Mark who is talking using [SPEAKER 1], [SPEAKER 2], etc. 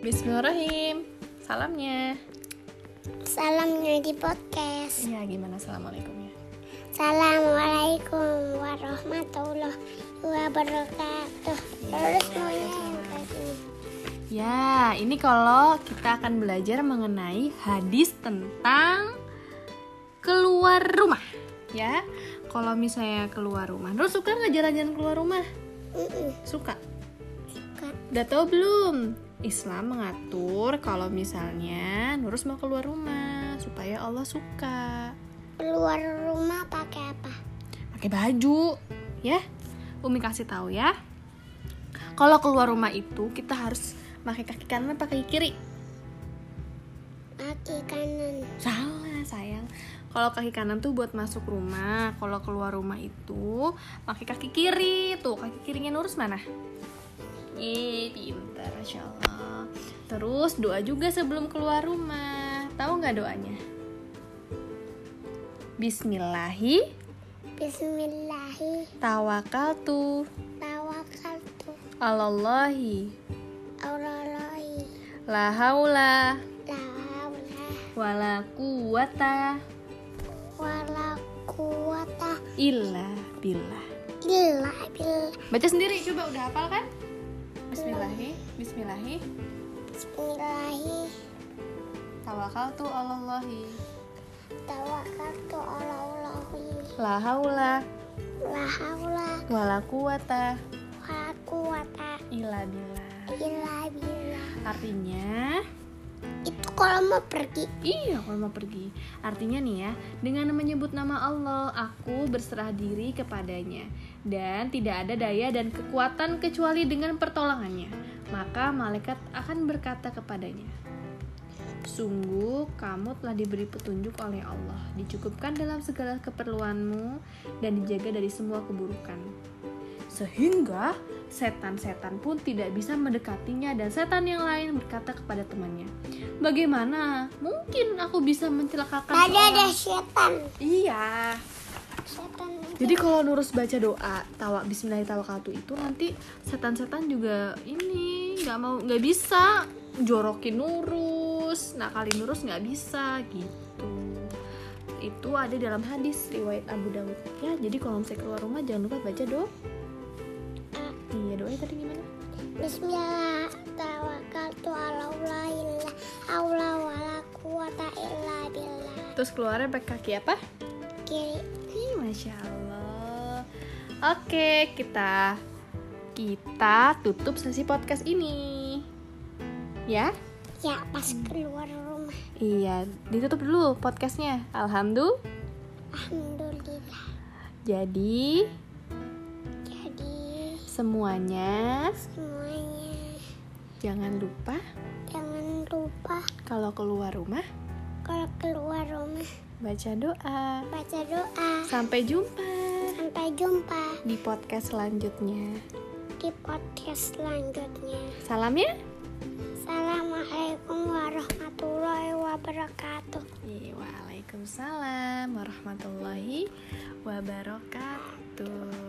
[SPEAKER 1] Bismillahirrahmanirrahim. Salamnya.
[SPEAKER 2] Salamnya di podcast.
[SPEAKER 1] Iya, gimana assalamualaikumnya?
[SPEAKER 2] Assalamualaikum warahmatullahi wabarakatuh. Terus maunya yang kayak gini.
[SPEAKER 1] Ya, ini kalau kita akan belajar mengenai hadis tentang keluar rumah, ya. Kalau misalnya keluar rumah, Nur suka nggak jalan-jalan keluar rumah?
[SPEAKER 2] Mm-mm,
[SPEAKER 1] Suka.
[SPEAKER 2] suka.
[SPEAKER 1] Udah tahu belum? Islam mengatur kalau misalnya Nurus mau keluar rumah supaya Allah suka.
[SPEAKER 2] Keluar rumah pakai apa?
[SPEAKER 1] pakai baju ya Umi kasih tahu ya kalau keluar rumah itu kita harus pakai kaki kanan pakai kaki kiri
[SPEAKER 2] Kaki kanan.
[SPEAKER 1] salah sayang kalau kaki kanan tuh buat masuk rumah kalau keluar rumah itu pakai kaki kiri tuh kaki kirinya lurus mana Yeay, pinter Masya Allah Terus doa juga sebelum keluar rumah Tahu nggak doanya? Bismillahi
[SPEAKER 2] Bismillahi
[SPEAKER 1] tawakaltu
[SPEAKER 2] tawakaltu
[SPEAKER 1] alallahi
[SPEAKER 2] Allahi
[SPEAKER 1] La haula
[SPEAKER 2] la haula
[SPEAKER 1] wala quwata
[SPEAKER 2] wala quwata
[SPEAKER 1] illa billah.
[SPEAKER 2] illa billah.
[SPEAKER 1] Baca sendiri coba udah hafal kan? Bismillahi, bismillahi.
[SPEAKER 2] Bismillahi
[SPEAKER 1] Tawakaltu alallahi.
[SPEAKER 2] tawakaltu ala Allahi
[SPEAKER 1] La haula
[SPEAKER 2] la haula
[SPEAKER 1] wala quwata
[SPEAKER 2] wala quwata
[SPEAKER 1] illa billah.
[SPEAKER 2] illa billah.
[SPEAKER 1] Artinya,
[SPEAKER 2] Itu kalau mau pergi
[SPEAKER 1] iya kalau mau pergi. Artinya nih ya, dengan menyebut nama Allah, aku berserah diri kepadanya dan tidak ada daya dan kekuatan kecuali dengan pertolongannya. Maka malaikat akan berkata kepadanya, Sungguh, kamu telah diberi petunjuk oleh Allah, dicukupkan dalam segala keperluanmu, dan dijaga dari semua keburukan. Sehingga setan-setan pun tidak bisa mendekatinya dan setan yang lain berkata kepada temannya, Bagaimana? Mungkin aku bisa mencelakakan
[SPEAKER 2] tadi ada
[SPEAKER 1] seorang."
[SPEAKER 2] setan.
[SPEAKER 1] Iya,
[SPEAKER 2] Setan.
[SPEAKER 1] jadi kalau Nurus baca doa tawa Bismillahirrahmanirrahim itu nanti setan-setan juga ini nggak mau nggak bisa jorokin Nurus. Nah kali Nurus nggak bisa gitu. Itu ada dalam hadis riwayat Abu Dawud. Ya jadi kalau misalnya keluar rumah jangan lupa baca doa. Iya doanya tadi gimana?
[SPEAKER 2] Bismillah tawakkaltu ala Allah illa haula wala quwata illa billah.
[SPEAKER 1] Terus keluarnya pakai kaki apa?
[SPEAKER 2] Kiri
[SPEAKER 1] Ih, Masya Allah. Oke kita kita tutup sesi podcast ini. Ya.
[SPEAKER 2] ya pas
[SPEAKER 1] Hmm.
[SPEAKER 2] keluar rumah.
[SPEAKER 1] Iya, ditutup dulu podcastnya. Alhamdulillah.
[SPEAKER 2] Alhamdulillah.
[SPEAKER 1] Jadi
[SPEAKER 2] Jadi
[SPEAKER 1] semuanya
[SPEAKER 2] semuanya
[SPEAKER 1] jangan lupa
[SPEAKER 2] jangan lupa
[SPEAKER 1] kalau keluar rumah
[SPEAKER 2] kalau keluar rumah
[SPEAKER 1] baca doa.
[SPEAKER 2] baca doa.
[SPEAKER 1] Sampai jumpa
[SPEAKER 2] Sampai jumpa
[SPEAKER 1] di podcast selanjutnya.
[SPEAKER 2] di podcast selanjutnya.
[SPEAKER 1] Salamnya?
[SPEAKER 2] Assalamualaikum warahmatullahi wabarakatuh.
[SPEAKER 1] Waalaikumsalam warahmatullahi wabarakatuh.